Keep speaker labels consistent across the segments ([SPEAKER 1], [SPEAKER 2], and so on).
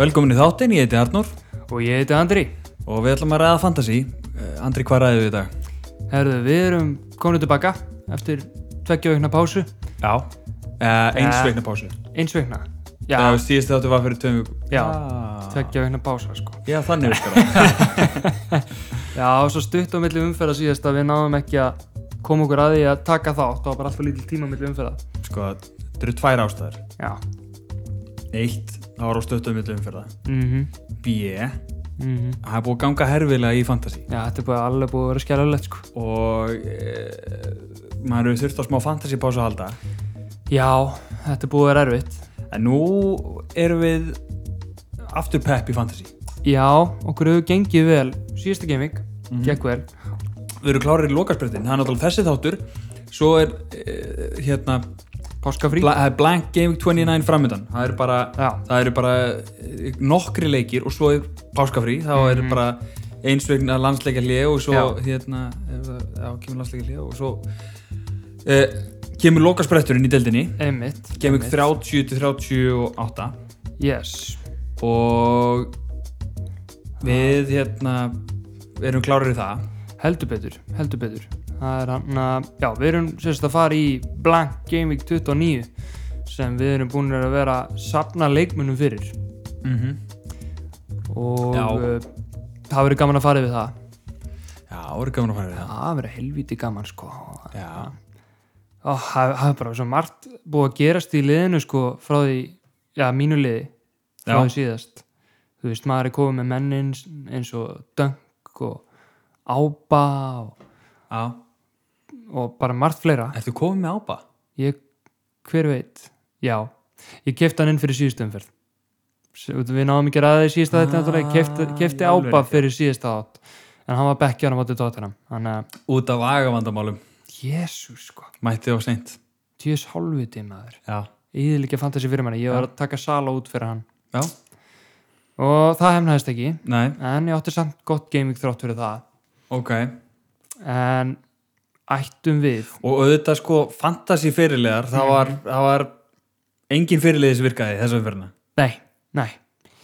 [SPEAKER 1] Velkomin í þáttinn, ég heiti Arnór
[SPEAKER 2] Og ég heiti Andri.
[SPEAKER 1] og við ætlum að ræða fantasy. Eh, Andri, hvað ræðum við í dag?
[SPEAKER 2] Herðu, við erum komin tilbaka eftir tveggja veikna pásu.
[SPEAKER 1] Já. Uh, eins
[SPEAKER 2] Eh,
[SPEAKER 1] veikna pásu.
[SPEAKER 2] Eins veikna.
[SPEAKER 1] Það
[SPEAKER 2] Já,
[SPEAKER 1] var síðast þáttu var fyrir tveim viku.
[SPEAKER 2] Já.
[SPEAKER 1] Ah.
[SPEAKER 2] tveggja veikna pása sko.
[SPEAKER 1] Já, þannig virkar það.
[SPEAKER 2] Já, og svo stutt á milli umferða síðast að við náðum ekki að koma okkur að því að taka þátt. Það var bara alltaf lítil tíma á milli umferða.
[SPEAKER 1] Sko, þetta eru tvær ástæður.
[SPEAKER 2] Já.
[SPEAKER 1] Eitt, það var á stöttum milli umferða.
[SPEAKER 2] Mhm.
[SPEAKER 1] B,
[SPEAKER 2] Mhm.
[SPEAKER 1] það er búið að ganga herfilega í fantasy.
[SPEAKER 2] Já, þetta er bara alveg búið að vera skjálfilegt sko.
[SPEAKER 1] Og uh, maður hefur þurft á smá fantasy pásu að halda.
[SPEAKER 2] Já, þetta er búið að vera erfitt.
[SPEAKER 1] En nú erum við aftur pepp í fantasy.
[SPEAKER 2] Já, okkur hefur gengið vel. Síðasta gaming, gekk vel.
[SPEAKER 1] Við erum klárið í lokasprettin, það er náttúrulega þessi þáttur. Svo er, uh, hérna,
[SPEAKER 2] Páskafrí.
[SPEAKER 1] Bla, það er Blank Gaming 29 framöndan það eru bara,
[SPEAKER 2] Já.
[SPEAKER 1] það eru bara eh, nokkri leikir og svo er páskafrí þá mm er bara eins vegna landsleika og svo
[SPEAKER 2] Já.
[SPEAKER 1] hérna er það- já, kemur landsleika og svo eh, kemur lokaspretturinn í deildinni
[SPEAKER 2] Einmitt.
[SPEAKER 1] kemur
[SPEAKER 2] einmitt.
[SPEAKER 1] 30 til 38
[SPEAKER 2] Yes.
[SPEAKER 1] og við hérna erum klárir í það
[SPEAKER 2] Heldur betur, heldur betur. Það er hann að, já, við erum sérst að fara í Blank Gaming 29 sem við erum búin að vera að sapna leikmunum fyrir
[SPEAKER 1] mm
[SPEAKER 2] og
[SPEAKER 1] Já.
[SPEAKER 2] uh, það verður gaman að fara yfir það.
[SPEAKER 1] já, voru gaman að fara í það
[SPEAKER 2] Það verður helviti gaman sko.
[SPEAKER 1] já,
[SPEAKER 2] Ó, Það það er bara svo margt búið að gerast í liðinu sko frá því, já, mínu liði, frá
[SPEAKER 1] Já.
[SPEAKER 2] því síðast. Þú veist, maður er komið með mennin eins og Dunk og Ába og,
[SPEAKER 1] já.
[SPEAKER 2] og bara margt fleira.
[SPEAKER 1] ertu komið með ába?
[SPEAKER 2] Ég, hver veit Já, ég kefti hann inn fyrir síðustu umferð S- út- Við náðum ekki ræðið í síðasta þetta náttúrulega, kefti,
[SPEAKER 1] Ah,
[SPEAKER 2] kefti
[SPEAKER 1] í alvöru
[SPEAKER 2] ába
[SPEAKER 1] ekki.
[SPEAKER 2] fyrir síðasta átt en hann var bekkjar á móti tóttunum þannig að,
[SPEAKER 1] út af agavandamálum
[SPEAKER 2] jésús sko
[SPEAKER 1] mætti á seint
[SPEAKER 2] tjus hálfviti maður,
[SPEAKER 1] já,
[SPEAKER 2] íðlíkja fantasi fyrir manni ég var að taka sala út fyrir hann
[SPEAKER 1] já,
[SPEAKER 2] og það hefnaðist ekki
[SPEAKER 1] nei,
[SPEAKER 2] en ég átti samt gott gaming þrátt fyrir það
[SPEAKER 1] ok
[SPEAKER 2] en ættum við
[SPEAKER 1] og auðvitað sko, fantasy fyrirlegar það var, það var engin fyrirliði sem virkaði í þessu umferðina
[SPEAKER 2] nei, nei,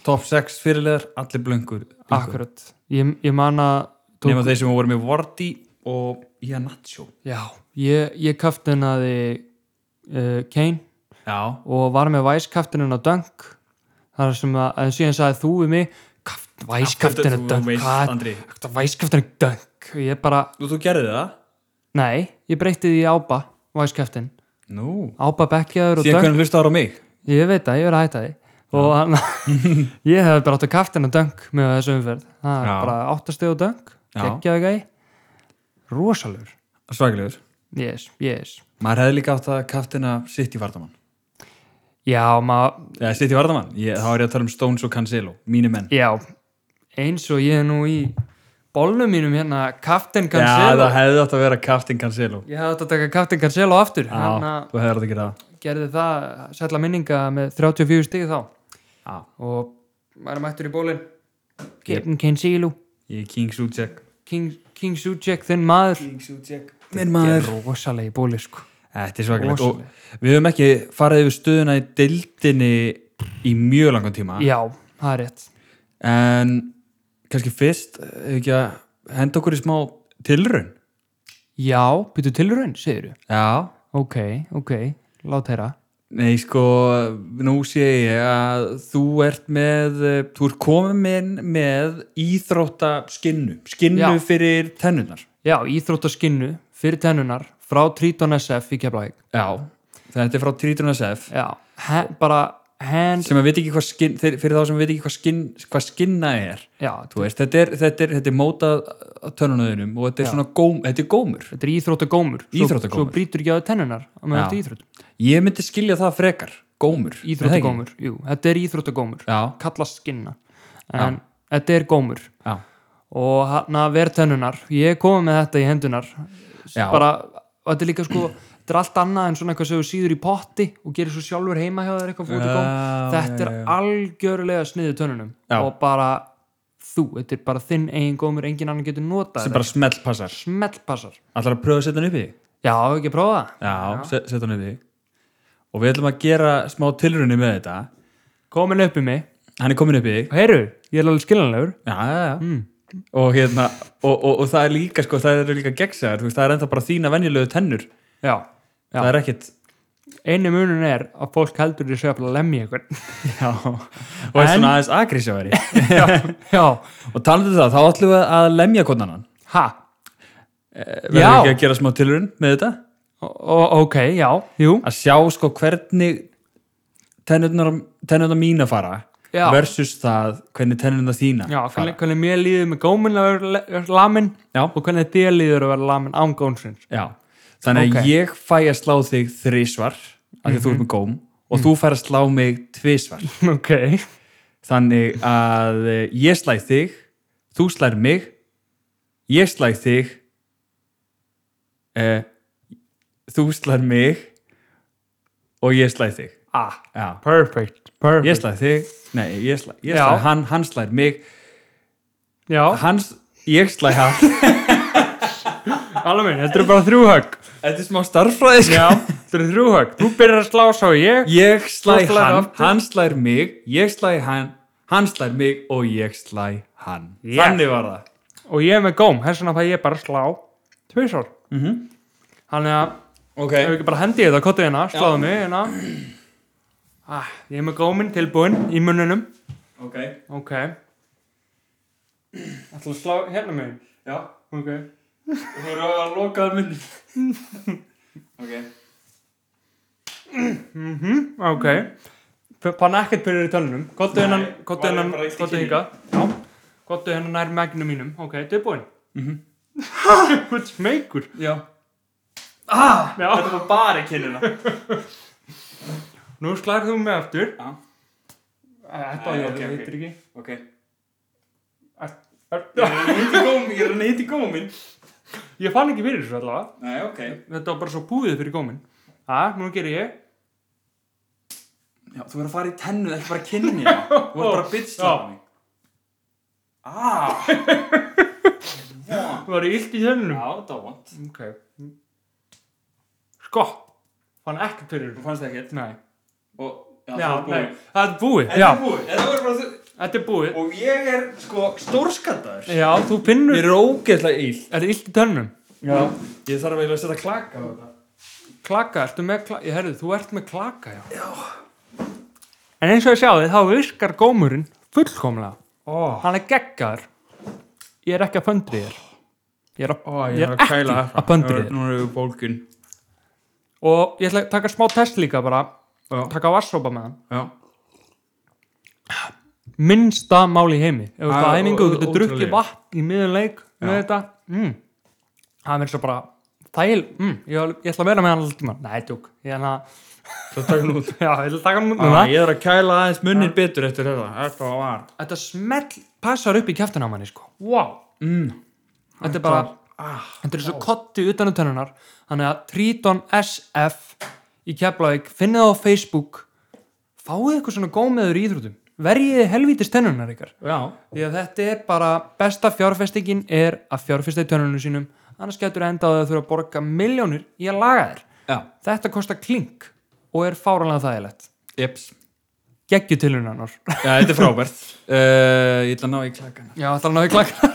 [SPEAKER 1] top 6 fyrirlegar, allir blöngur
[SPEAKER 2] akkurat ég, ég man að tók-
[SPEAKER 1] nema þeir sem voru með Vorti og Iannaccio
[SPEAKER 2] Já, ég, ég kaftinaði uh, Kane
[SPEAKER 1] já,
[SPEAKER 2] og var með væskaftinan á Dunk þar sem að en síðan sagði þú við mig væskaftinan á
[SPEAKER 1] Þú
[SPEAKER 2] Dunk
[SPEAKER 1] veist,
[SPEAKER 2] hvað
[SPEAKER 1] Andri,
[SPEAKER 2] er væskaftinan á Dunk og ég bara,
[SPEAKER 1] þú, þú gerði það?
[SPEAKER 2] nei, ég breytti því í Ába væskaftin,
[SPEAKER 1] nú,
[SPEAKER 2] Ába bekkjaður og
[SPEAKER 1] síðan
[SPEAKER 2] Dunk
[SPEAKER 1] hvernig hlustaður á mig
[SPEAKER 2] ég veit það, ég verið að hætta því og hann, ég hefði bara átt að kaftina Dunk með þessu umferð, það er
[SPEAKER 1] Já.
[SPEAKER 2] bara áttasteg og Dunk,
[SPEAKER 1] Já.
[SPEAKER 2] geggjaðu gæi rosalur,
[SPEAKER 1] svaglegur,
[SPEAKER 2] yes, yes
[SPEAKER 1] maður hefði líka átt að kaftina City Vardaman
[SPEAKER 2] já, maður
[SPEAKER 1] eða City Vardaman, ég, þá er ég að tala um Stones og Cancelo mínu menn
[SPEAKER 2] Já, eins og ég er nú í bólnum mínum hérna Captain
[SPEAKER 1] Já,
[SPEAKER 2] Cancelo
[SPEAKER 1] það hefði átt að vera Captain Cancelo
[SPEAKER 2] Ég hafði átt að taka Captain Cancelo aftur hann
[SPEAKER 1] Já, þú hefði átt að gera það
[SPEAKER 2] gerði það sætla minninga með 34 stig þá
[SPEAKER 1] Já,
[SPEAKER 2] og maður er mættur í bólin Captain Cancelo
[SPEAKER 1] ég er King Suchek
[SPEAKER 2] King, King Suchek, þinn maður
[SPEAKER 1] King Suchek Minn
[SPEAKER 2] Ég
[SPEAKER 1] maður
[SPEAKER 2] er rosalega í bóli sko
[SPEAKER 1] Þetta er svakalegt og
[SPEAKER 2] Rosaleg.
[SPEAKER 1] við höfum ekki farið yfir stöðuna í deildinni í mjög langan tíma
[SPEAKER 2] Já, það er rétt
[SPEAKER 1] en kannski fyrst eh, ekki að henda okkur í smá tilraun
[SPEAKER 2] Já, byttu tilraun, segirðu
[SPEAKER 1] Já
[SPEAKER 2] Ok, ok, lát heyra
[SPEAKER 1] Nei, sko, nú sé ég að þú ert með, eh, þú ert komin með íþrótta skinnu, skinnu
[SPEAKER 2] Já.
[SPEAKER 1] fyrir tennunar.
[SPEAKER 2] Já, íþróttaskinnu fyrir tennunar frá Triton SF í Keflavík
[SPEAKER 1] Já, þetta er frá Triton SF
[SPEAKER 2] Já, he, bara hand
[SPEAKER 1] sem að veit ekki hvað skinn, þeir- fyrir þá sem veit ekki hvað, skinn, hvað skinna er
[SPEAKER 2] Já,
[SPEAKER 1] þú veist, þetta er, þetta er, þetta er mótað að tönnunöðunum og þetta er
[SPEAKER 2] Já.
[SPEAKER 1] svona góm, þetta er gómur
[SPEAKER 2] Þetta er íþróttagómur Svo-
[SPEAKER 1] Íþróttagómur.
[SPEAKER 2] Svo brýtur ekki á þér tennunar á meðan
[SPEAKER 1] Já.
[SPEAKER 2] þetta er íþrótt
[SPEAKER 1] ég myndi skilja það frekar, gómur Er það ekki?
[SPEAKER 2] Íþróttagómur, jú, þetta er íþróttagómur
[SPEAKER 1] já,
[SPEAKER 2] Kallast skinna En þetta er gómur
[SPEAKER 1] já,
[SPEAKER 2] Og hann að vera tennunar Ég komið með þetta í hendunar
[SPEAKER 1] Já.
[SPEAKER 2] Bara, og þetta er líka sko Þetta er allt annað en svona eitthvað sem þú síður í potti Og gerir svo sjálfur heima hjá þér eitthvað fótið góm
[SPEAKER 1] Já,
[SPEAKER 2] Þetta er
[SPEAKER 1] já, já.
[SPEAKER 2] algjörlega sniðu tönnunum
[SPEAKER 1] Já.
[SPEAKER 2] Og bara þú, þetta er bara þinn eigin gómur Engin annan getur notað
[SPEAKER 1] sem bara smelt passar
[SPEAKER 2] Smellpassar
[SPEAKER 1] allar að pröfa að setja hann upp í þig?
[SPEAKER 2] Já, ekki að prófa það
[SPEAKER 1] já, se- setja hann upp í þig. og við ætlum að gera smá tilrunni með þetta
[SPEAKER 2] Komin upp í mig
[SPEAKER 1] hann er komin upp í þig
[SPEAKER 2] Heyru, ég er alveg skiljanlegur
[SPEAKER 1] já, já, já.
[SPEAKER 2] mm.
[SPEAKER 1] Og, hérna, og, og, og það er líka sko, það eru líka gegnsæðar, þú veist, það er ennþá bara þína venjulegu tennur,
[SPEAKER 2] Já, Já.
[SPEAKER 1] það er ekkit
[SPEAKER 2] einu munun er að fólk heldur þessu að lemja einhvern
[SPEAKER 1] já, og er
[SPEAKER 2] En-
[SPEAKER 1] svona aðeins agrísjári
[SPEAKER 2] Já, já,
[SPEAKER 1] og talandi um það, þá ætlum við að lemja konan
[SPEAKER 2] ha
[SPEAKER 1] verður
[SPEAKER 2] Já.
[SPEAKER 1] ekki að gera smá tilurinn með þetta
[SPEAKER 2] o o- Ok, já, jú
[SPEAKER 1] að sjá sko hvernig tennurnar, tennurnar mína fara
[SPEAKER 2] Já.
[SPEAKER 1] versus það hvernig tennurnar þína
[SPEAKER 2] Já,
[SPEAKER 1] fara
[SPEAKER 2] hvernig, hvernig mér líður með góminn að vera le- lamin
[SPEAKER 1] Já.
[SPEAKER 2] og hvernig þér líður að vera lamin án gónsins
[SPEAKER 1] Já. þannig
[SPEAKER 2] Ok. Mhm.
[SPEAKER 1] að ég fæ að slá þig þrísvar af því að þú ert með góm og þú fær að slá mig tvísvar
[SPEAKER 2] Ok,
[SPEAKER 1] þannig að eh, ég slæ þig þú slær mig ég slæ þig eh, þú slær mig og ég slæ þig
[SPEAKER 2] ah,
[SPEAKER 1] Já.
[SPEAKER 2] perfect, perfect
[SPEAKER 1] ég slæ þig, nei ég slæ, ég
[SPEAKER 2] Já.
[SPEAKER 1] slæ hann, hann slær mig
[SPEAKER 2] Já,
[SPEAKER 1] hans, ég slæ hann
[SPEAKER 2] alveg minn, þetta eru bara þrjú högg
[SPEAKER 1] þetta er smá starffræði sko.
[SPEAKER 2] Já, þetta eru þrjú högg Þú byrjar að slá sá ég
[SPEAKER 1] ég slæ
[SPEAKER 2] Þú slær
[SPEAKER 1] hann,
[SPEAKER 2] aftur.
[SPEAKER 1] hann slær mig ég slæ hann, hann slær mig og ég slæ hann
[SPEAKER 2] Yeah.
[SPEAKER 1] þannig var það
[SPEAKER 2] og ég er með góm, þess vegna fæ ég bara að slá tvisvar mm -hmm. Þannig að Ef
[SPEAKER 1] okay.
[SPEAKER 2] ekki bara hendi ég þetta á kottið hérna, sláðu mig hérna ah, Ég er með góminn tilbúinn í munnunum
[SPEAKER 1] Okay.
[SPEAKER 2] Ok Ætla að slá hérna mig
[SPEAKER 1] Já.
[SPEAKER 2] Ok
[SPEAKER 1] þú eru að loka það minn ok
[SPEAKER 2] Ok P- Panna ekkert byrjar í tönnum Kottið
[SPEAKER 1] Nei,
[SPEAKER 2] hérna,
[SPEAKER 1] var ég
[SPEAKER 2] kottið hérna,
[SPEAKER 1] bara eitt í kynlífi?
[SPEAKER 2] kottið hinga Já Kottið hérna nær megnum mínum Ok, tilbúinn Mhm Hvað smeykur
[SPEAKER 1] Já.
[SPEAKER 2] Já
[SPEAKER 1] var bara kynina
[SPEAKER 2] Nú slær þú mig aftur
[SPEAKER 1] Já.
[SPEAKER 2] Þetta
[SPEAKER 1] Nei, ok,
[SPEAKER 2] ég, þetta
[SPEAKER 1] ok.
[SPEAKER 2] heitir ekki
[SPEAKER 1] ok
[SPEAKER 2] Er- er-
[SPEAKER 1] ég er að nýtt í gómin
[SPEAKER 2] Ég fann ekki fyrir þessu allavega
[SPEAKER 1] nei ok
[SPEAKER 2] Þetta var bara svo búið fyrir góminn Já, nú gerir ég
[SPEAKER 1] Já, þú verður að fara í tennu, ekki bara kynni Þú verður bara að bitchla
[SPEAKER 2] Já.
[SPEAKER 1] mig Ah,
[SPEAKER 2] Það var illt í þönnum
[SPEAKER 1] það var vant
[SPEAKER 2] Ok Sko Fann ekkert fyrir
[SPEAKER 1] Þú
[SPEAKER 2] þessu.
[SPEAKER 1] fannst það ekkert
[SPEAKER 2] Nei
[SPEAKER 1] Og, já,
[SPEAKER 2] Já,
[SPEAKER 1] það er
[SPEAKER 2] nei,
[SPEAKER 1] búið
[SPEAKER 2] það er
[SPEAKER 1] En
[SPEAKER 2] búið Já,
[SPEAKER 1] það er búið, en það verður bara þú
[SPEAKER 2] þetta er búið
[SPEAKER 1] Og ég er, sko, stórskaddaður
[SPEAKER 2] Já, þú pinnur
[SPEAKER 1] Ég er ógeðlega ill
[SPEAKER 2] Er það illt í tönnum?
[SPEAKER 1] Já Ég þarf eiginlega að setja klaka á þetta
[SPEAKER 2] Klaka, ertu með klaka? Ég herrið, þú ert með klaka, já Já En eins og ég sjáði, þá virkar gómurinn fullkomlega
[SPEAKER 1] Ó,
[SPEAKER 2] Hann er geggar Ég er ekki að föndri þér Ég er, að, ég er
[SPEAKER 1] að
[SPEAKER 2] ekki
[SPEAKER 1] kæla
[SPEAKER 2] að föndri þér
[SPEAKER 1] Nú erum við bólgun
[SPEAKER 2] Og ég ætla að taka smá test líka bara
[SPEAKER 1] Já.
[SPEAKER 2] Taka vassopa með hann
[SPEAKER 1] Já
[SPEAKER 2] minnsta mál í heimi ef þú ert
[SPEAKER 1] Það
[SPEAKER 2] á
[SPEAKER 1] er
[SPEAKER 2] æfingu,
[SPEAKER 1] ó-
[SPEAKER 2] þú getur drukkið
[SPEAKER 1] ótrúlega.
[SPEAKER 2] vatn í miðun leik með þetta mm. það er svo bara þæl, mm, ég, ég ætla að vera með hann alltaf tíma nei, tjók, ég ætla að
[SPEAKER 1] Það taka nú út
[SPEAKER 2] já, ég ætla að taka hann út
[SPEAKER 1] Ah,
[SPEAKER 2] núna
[SPEAKER 1] Ég þarf að kæla aðeins munnin betur eftir þetta Þetta var
[SPEAKER 2] þetta smell passar upp í kæftin á manni sko. wow,
[SPEAKER 1] mm.
[SPEAKER 2] þetta er bara
[SPEAKER 1] ah.
[SPEAKER 2] þetta er svo kotti utan um tönnunar þannig að Triton SF í Keflavík, finnið það á Facebook fáið eitthvað svona gómiður í íþrótum verjið helvítist tönnunar ykkar
[SPEAKER 1] Já
[SPEAKER 2] Því að þetta er bara besta fjárfestingin er að fjárfesta í tönunum sínum annars getur enda á því að þurfa að borga miljónir í að laga þér.
[SPEAKER 1] Já
[SPEAKER 2] Þetta kostar klink og er fáranlega þægilegt.
[SPEAKER 1] Jeps
[SPEAKER 2] Gekkju tilhjörnarnar.
[SPEAKER 1] Já, þetta er frábært uh, Ég ætla að ná í klakana
[SPEAKER 2] Já, það er náðu klakka.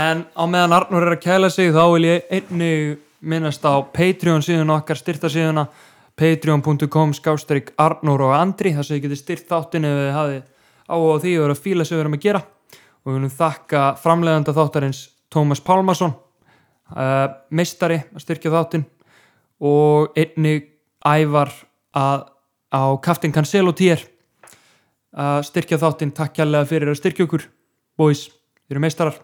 [SPEAKER 2] en á meðan Arnur er að kæla sig þá vil ég einnig minnast á Patreon síðan okkar styrta síðuna patreon.com skástrík Arnur og Andri þar sem þið getið styrt þáttin ef þið hafið á og því og eru að fíla sem við erum að gera og við viljum þakka framleganda þáttarins Tómas Pálmason uh, meistari að styrkja þáttin og einnig ævar að, á Kaftin Cancelo týr að styrkja þáttinn takk kærlega fyrir að styrkja okkur boys, þið eru meistarar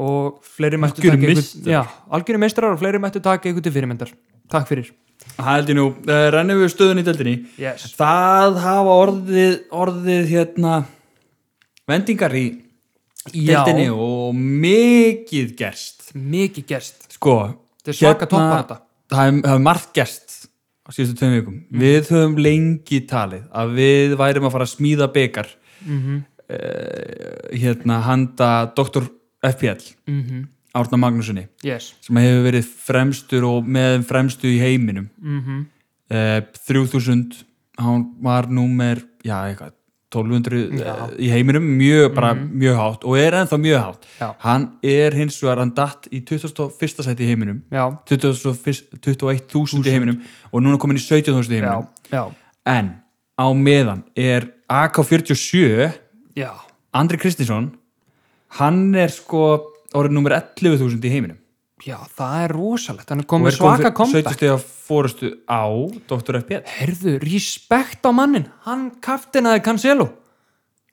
[SPEAKER 2] og fleiri mættu
[SPEAKER 1] Algjörir
[SPEAKER 2] taka ykkur-
[SPEAKER 1] meistarar.
[SPEAKER 2] Já, algjörir meistarar og fleiri mættu taka ykkur til fyrirmyndar takk fyrir
[SPEAKER 1] Það held ég nú uh, Rennum við stöðun í deldinni
[SPEAKER 2] yes.
[SPEAKER 1] Það hafa orðið, orðið hérna vendingar í í
[SPEAKER 2] Já.
[SPEAKER 1] deldinni og mikið gerst
[SPEAKER 2] mikið gerst,
[SPEAKER 1] Sko
[SPEAKER 2] þetta er svaka hérna... toppa þetta
[SPEAKER 1] Það hefur hef margt gerst á síðustu tveim vikum
[SPEAKER 2] Mm.
[SPEAKER 1] Við höfum lengi talið að við værum að fara að smíða byggar
[SPEAKER 2] Mhm.
[SPEAKER 1] hérna handa Dr. FPL
[SPEAKER 2] Mhm.
[SPEAKER 1] Árna Magnúsinni
[SPEAKER 2] yes.
[SPEAKER 1] sem hefur verið fremstur og með þeim fremstu í heiminum
[SPEAKER 2] mm -hmm.
[SPEAKER 1] eh, 3000 hann var númer já, eitthvað, 1200
[SPEAKER 2] Já.
[SPEAKER 1] eh, í heiminum, mjög, bara, mjög hátt og er ennþá mjög hátt
[SPEAKER 2] Mhm. Já.
[SPEAKER 1] hann er hins vegar, hann datt í 21. sæti í heiminum
[SPEAKER 2] já,
[SPEAKER 1] 21.000 21.000 í heiminum og núna komin í 17.000 í
[SPEAKER 2] já,
[SPEAKER 1] heiminum
[SPEAKER 2] já,
[SPEAKER 1] en á meðan er AK47
[SPEAKER 2] já,
[SPEAKER 1] Andri Kristinsson hann er sko orðið nummer 11.000 í heiminum
[SPEAKER 2] já, það er rosalegt, hann er
[SPEAKER 1] og
[SPEAKER 2] komið
[SPEAKER 1] er kominn
[SPEAKER 2] svaka
[SPEAKER 1] fyrir
[SPEAKER 2] comeback
[SPEAKER 1] 70 stiga fórustu á Dr. FBL
[SPEAKER 2] Herðu, respekt á mannin, hann kaftinaði Cancelo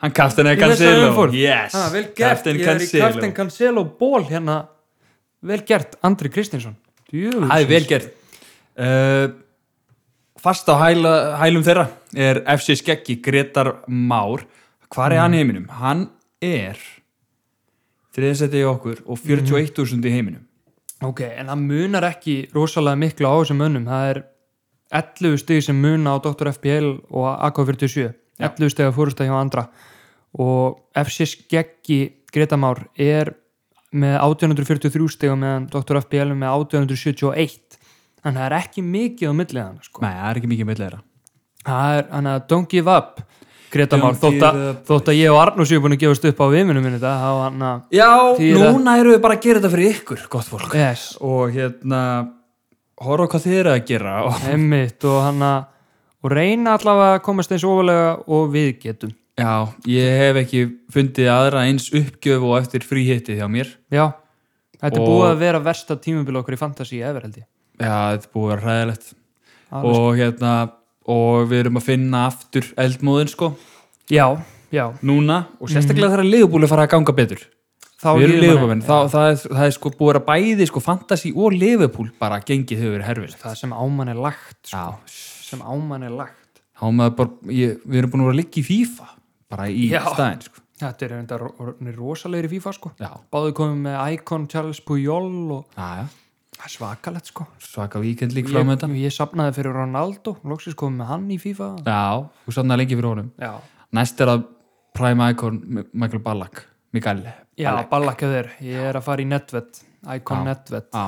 [SPEAKER 1] hann kaftin
[SPEAKER 2] Í
[SPEAKER 1] eða
[SPEAKER 2] þessari
[SPEAKER 1] Cancelo
[SPEAKER 2] umferð.
[SPEAKER 1] yes,
[SPEAKER 2] ha, Ah, Vel gert,
[SPEAKER 1] Captain
[SPEAKER 2] ég er í
[SPEAKER 1] Cancelo.
[SPEAKER 2] Kaftin Cancelo ból hérna Vel gert, Andri Kristinsson Djöfusins.
[SPEAKER 1] Það er vel gert uh, Fast á hæla, hælum þeirra er FC Skeggi Gretar Már Hvar er hann í heiminum? Hann er þriðsetti í okkur og 41.000 í heiminum
[SPEAKER 2] Ok, en það munar ekki rosalega miklu á þessum önnum Það er 11 stig sem muna á Dr. FPL og AK47 11 stig að fórust hjá andra og FC Skeggi Gretamár er með 1843 stig og meðan Dr. FPL er með 1871 en það er ekki mikið á millið hann sko.
[SPEAKER 1] Nei, það er ekki mikið með leira
[SPEAKER 2] Það er, hann að don't give up Greta Már,
[SPEAKER 1] Don't
[SPEAKER 2] þótt, að-
[SPEAKER 1] give up.
[SPEAKER 2] þótt að ég og Arnús séu búin að gefast upp á viminum minni það, þá hann að
[SPEAKER 1] Já,
[SPEAKER 2] Þýra-
[SPEAKER 1] núna erum við bara að gera þetta fyrir ykkur, gott fólk
[SPEAKER 2] yes,
[SPEAKER 1] Og hérna, horfa á hvað þið eru að gera og,
[SPEAKER 2] einmitt og hann að og reyna allavega að komast eins ofalega og við getum
[SPEAKER 1] Já, ég hef ekki fundið aðra eins uppgjöf og eftir fríhitti hjá mér
[SPEAKER 2] Já, þetta er
[SPEAKER 1] Og-
[SPEAKER 2] búið að vera versta tímabil okkur í Fantasí efer held ég
[SPEAKER 1] Já, þetta er búið að vera hræðilegt
[SPEAKER 2] Alveg sko.
[SPEAKER 1] og hérna og við erum að finna aftur eldmóðin sko,
[SPEAKER 2] Já, já,
[SPEAKER 1] núna og sérstaklega þegar liðbúli fara að ganga betur
[SPEAKER 2] Mhm. þá
[SPEAKER 1] við erum
[SPEAKER 2] líður manni-
[SPEAKER 1] liðbúlin, það, það, er- það er sko búið að vera bæði sko fantasy og liðbúl bara gengið hefur verið herfilegt
[SPEAKER 2] Það sem ámann er lagt sko,
[SPEAKER 1] Já,
[SPEAKER 2] sem ámann er lagt
[SPEAKER 1] þá er maður bara, ég, við erum búin að vera að liggja í FIFA bara í
[SPEAKER 2] Já.
[SPEAKER 1] staðinn sko
[SPEAKER 2] Þetta er enda ro- ro- rosalegri FIFA sko
[SPEAKER 1] Já,
[SPEAKER 2] Báðu komum með Icon Charles Puyol og
[SPEAKER 1] aðja,
[SPEAKER 2] það er svakalegt sko
[SPEAKER 1] svaka víkend lík frá með
[SPEAKER 2] ég,
[SPEAKER 1] þetta
[SPEAKER 2] ég sapnaði fyrir Ronaldo loksins komið með hann í FIFA
[SPEAKER 1] Já, þú sannar lengi fyrir honum
[SPEAKER 2] já,
[SPEAKER 1] Næst er að Prime Icon Michael Ballack, Mikael
[SPEAKER 2] já ballakja þér, ég er að fara í netvett Icon
[SPEAKER 1] Já.
[SPEAKER 2] netvett
[SPEAKER 1] Já,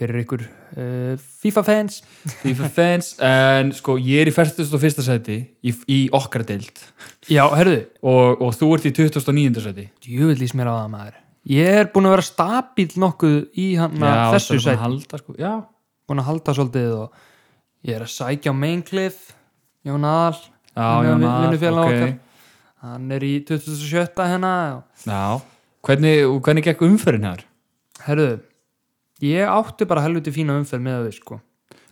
[SPEAKER 2] fyrir ykkur uh, FIFA fans
[SPEAKER 1] FIFA fans en sko ég er í 41. seti í, í okkar deild
[SPEAKER 2] já, herðu,
[SPEAKER 1] og, og þú ert í 29. seti
[SPEAKER 2] djúvillís mér á það maður ég er búin að vera stabíl nokkuð í hann
[SPEAKER 1] Já, þetta er
[SPEAKER 2] þessu
[SPEAKER 1] búin að
[SPEAKER 2] sætt,
[SPEAKER 1] halda, sko. Já,
[SPEAKER 2] búin að halda svolítið og ég er að sækja á Maincliff Jón Aðal
[SPEAKER 1] já,
[SPEAKER 2] hann er
[SPEAKER 1] já,
[SPEAKER 2] vin- vinnufélag
[SPEAKER 1] ok.
[SPEAKER 2] okkar. hann er í 2017 hérna og
[SPEAKER 1] já. Hvernig, og hvernig gekk umferðin hér?
[SPEAKER 2] Herðu, ég átti bara helviti fína umferð með þau sko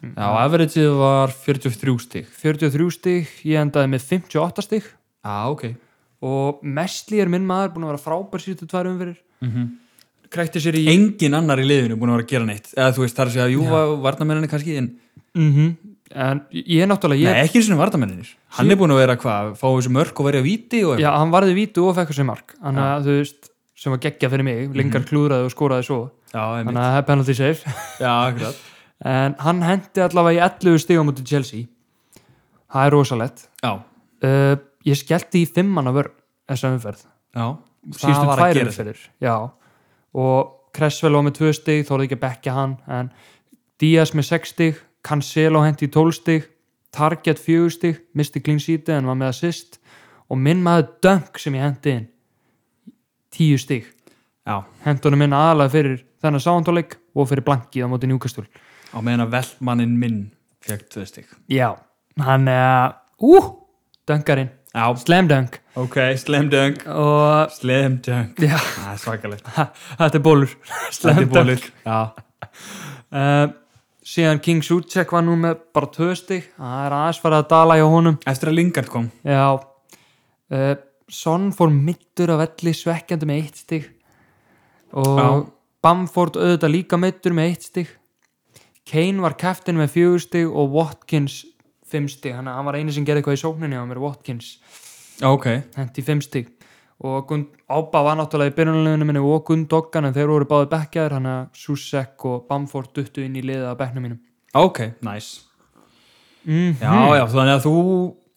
[SPEAKER 1] Já, averageið var 43 stig
[SPEAKER 2] 43 stig, ég endaði með 58 stig
[SPEAKER 1] Já, ok
[SPEAKER 2] og mestli er minn maður búin að vera frábær síðustu tvær umferðir
[SPEAKER 1] mm
[SPEAKER 2] Mhm. krækti sér í
[SPEAKER 1] Engin annar í liðinu búin að vera að gera neitt eða þú veist þar að segja, jú, varnamenninni kannski en,
[SPEAKER 2] mm en ég náttúrulega ég,
[SPEAKER 1] Nei, ekki eins og varnamenninir Hann er búin að vera hvað, fá þessu mörk og verja víti og
[SPEAKER 2] já, hann varði vítu og fekk þessi mark þannig að þú veist, sem var geggja fyrir mig lengar klúðraði og skoraði svo
[SPEAKER 1] já, einmitt.
[SPEAKER 2] þannig að það er penalty safe
[SPEAKER 1] já akkurat
[SPEAKER 2] en hann hendi allavega í 11 stig á múti Chelsea það er rosalett
[SPEAKER 1] Já,
[SPEAKER 2] uh, ég skellti í fimmanna vörn þessa umferð
[SPEAKER 1] já
[SPEAKER 2] síðustu
[SPEAKER 1] Það var að
[SPEAKER 2] tvær
[SPEAKER 1] gera
[SPEAKER 2] umferðir já, og Kressvel var með 2 stig þóði ekki að bekka hann en Díaz með 6 stig, Cancelo hendi 12 stig, Target 4 stig misti clean sheet en var með assist og minn maður Dunk sem ég hendi inn 10 stig
[SPEAKER 1] Já,
[SPEAKER 2] hendunum minn aðalega fyrir þennan sáhandáleik og fyrir blankið á móti njúkastul
[SPEAKER 1] á meðan að velmannin minn fekk tvö stygg
[SPEAKER 2] já, hann er uh, Dunkarinn,
[SPEAKER 1] Já,
[SPEAKER 2] Slam Dunk
[SPEAKER 1] ok, slam dunk
[SPEAKER 2] og
[SPEAKER 1] Slam dunk
[SPEAKER 2] Já.
[SPEAKER 1] Það er svakalegt
[SPEAKER 2] þetta er bólur
[SPEAKER 1] Þetta er
[SPEAKER 2] Slam Dunk
[SPEAKER 1] bólur Já,
[SPEAKER 2] uh, síðan King Suchek var nú með bara tvö stig það er aðeins farið að dala hjá honum
[SPEAKER 1] eftir að Lingard kom
[SPEAKER 2] já uh, Son fór mittur af elli svekkjandi með eitt stig og
[SPEAKER 1] Já.
[SPEAKER 2] Bamford auðvitað líka mittur með eitt stig Kane var keftin með fjögur stig og Watkins fimm stig, þannig að hann var eini sem gerði eitthvað í sókninni á mér, Watkins
[SPEAKER 1] Ok,
[SPEAKER 2] hendi fimm stig og Gund, Ába var náttúrulega í byrjunleginu minni og Gundoggan en þeir voru báði bekkjaður hann að Susek og Bamford duttu inn í liða að bekknum mínum
[SPEAKER 1] ok, nice
[SPEAKER 2] mm.
[SPEAKER 1] Já, já, þannig að þú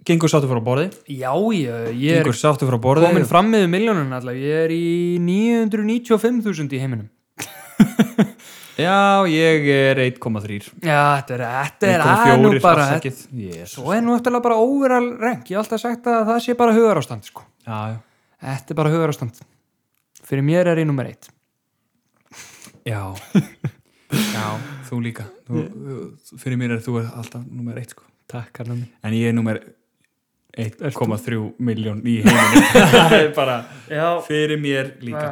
[SPEAKER 1] gengur sáttu frá borði
[SPEAKER 2] Já, ég, ég er
[SPEAKER 1] Gengur sáttu frá borði
[SPEAKER 2] komin fram með miljónun allavega, ég er í 995.000 í heiminum
[SPEAKER 1] Já, ég er 1,3
[SPEAKER 2] Já, þetta er, þetta er
[SPEAKER 1] 1,4
[SPEAKER 2] að nú bara
[SPEAKER 1] afsakið. Jesús.
[SPEAKER 2] Svo er nú eftirlega bara overall rank Ég hef alltaf sagt að það sé bara hugarástand sko.
[SPEAKER 1] Já, já.
[SPEAKER 2] Þetta er bara hugarástand Fyrir mér er ég nummer eitt
[SPEAKER 1] Já Já, þú líka þú, þú- Fyrir mér er þú er alltaf nummer 1 sko.
[SPEAKER 2] Takk, Karla mín
[SPEAKER 1] En ég er nummer 1,3 miljón í heiminum Það er bara
[SPEAKER 2] Já, Ah.
[SPEAKER 1] fyrir mér líka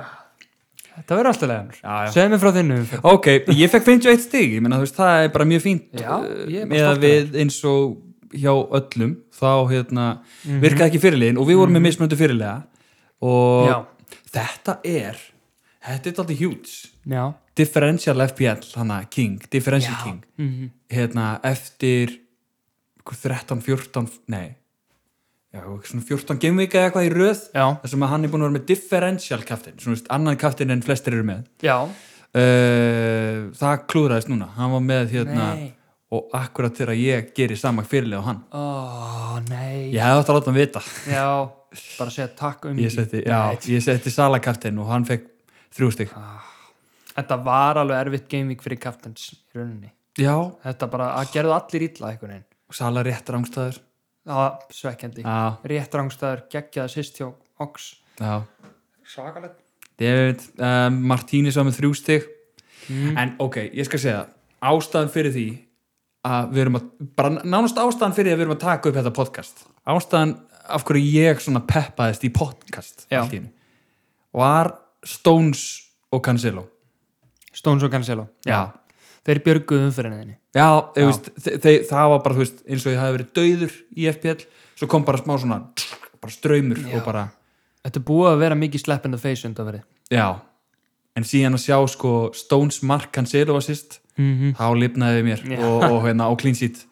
[SPEAKER 2] Þetta verður alltaf leðanur
[SPEAKER 1] Já, já.
[SPEAKER 2] Segðu mér frá þinnu umferð.
[SPEAKER 1] Ok, ég fekk 51 stig Ég meina, þú veist, það er bara mjög fínt
[SPEAKER 2] Já, ég er bara
[SPEAKER 1] Eða
[SPEAKER 2] stoltur.
[SPEAKER 1] við eins og hjá öllum þá hérna,
[SPEAKER 2] Mhm.
[SPEAKER 1] virkaði ekki fyrirliðin og við vorum með mismöndu fyrirliða og
[SPEAKER 2] Já.
[SPEAKER 1] þetta er þetta er alltaf hjúts
[SPEAKER 2] Já,
[SPEAKER 1] Differential FPL, hana King Differential
[SPEAKER 2] Já. Mhm.
[SPEAKER 1] King hérna eftir einhver 13, 14, nei já, svona 14 gamevíka eða eitthvað í röð
[SPEAKER 2] já,
[SPEAKER 1] þar sem að hann er búin að vera með differential kaftin svona veist, annan kaftin en flestir eru með
[SPEAKER 2] já
[SPEAKER 1] uh, það klúðraðist núna hann var með hérna
[SPEAKER 2] Nei.
[SPEAKER 1] og akkurat þegar ég geri saman fyrirlega á hann
[SPEAKER 2] Ó, nei
[SPEAKER 1] ég hefði átt að láta hann vita
[SPEAKER 2] Já, bara segja takk um
[SPEAKER 1] ég setti, já, ég setti Sala kaftin og hann fekk þrjú stygg
[SPEAKER 2] Þetta var alveg erfitt gamevík fyrir kaftens í rauninni
[SPEAKER 1] já,
[SPEAKER 2] Þetta bara, að gerðu allir illa einhvern veginn
[SPEAKER 1] Sala rétt rángstæður
[SPEAKER 2] Það var svekkjandi
[SPEAKER 1] já,
[SPEAKER 2] Rétt rángstæður, geggjaða sýst hjá Ox
[SPEAKER 1] já
[SPEAKER 2] Svakalegt
[SPEAKER 1] David um, Martínez var með þrjú stig en ok, ég skal segja ástæðan fyrir því að við erum að, bara nánast ástæðan fyrir því að við erum að taka upp þetta podcast ástæðan af hverju ég svona peppaðist í podcast
[SPEAKER 2] Já.
[SPEAKER 1] allt í einu, var Stones og Cancelo
[SPEAKER 2] Stones og Cancelo
[SPEAKER 1] já,
[SPEAKER 2] Þeir björguðu umfyrinni þinni
[SPEAKER 1] já, já. Veist, þe þe það var bara þú veist, eins og ég hafi verið dauður í FPL svo kom bara smá svona bara ströymur og bara
[SPEAKER 2] Þetta er búið að vera mikið slap in the face undanverið
[SPEAKER 1] Já, en síðan að sjá sko Stones Mark Cancelo assist mm
[SPEAKER 2] Mhm.
[SPEAKER 1] -hmm. þá lifnaði mér og, og, hérna, og clean sheet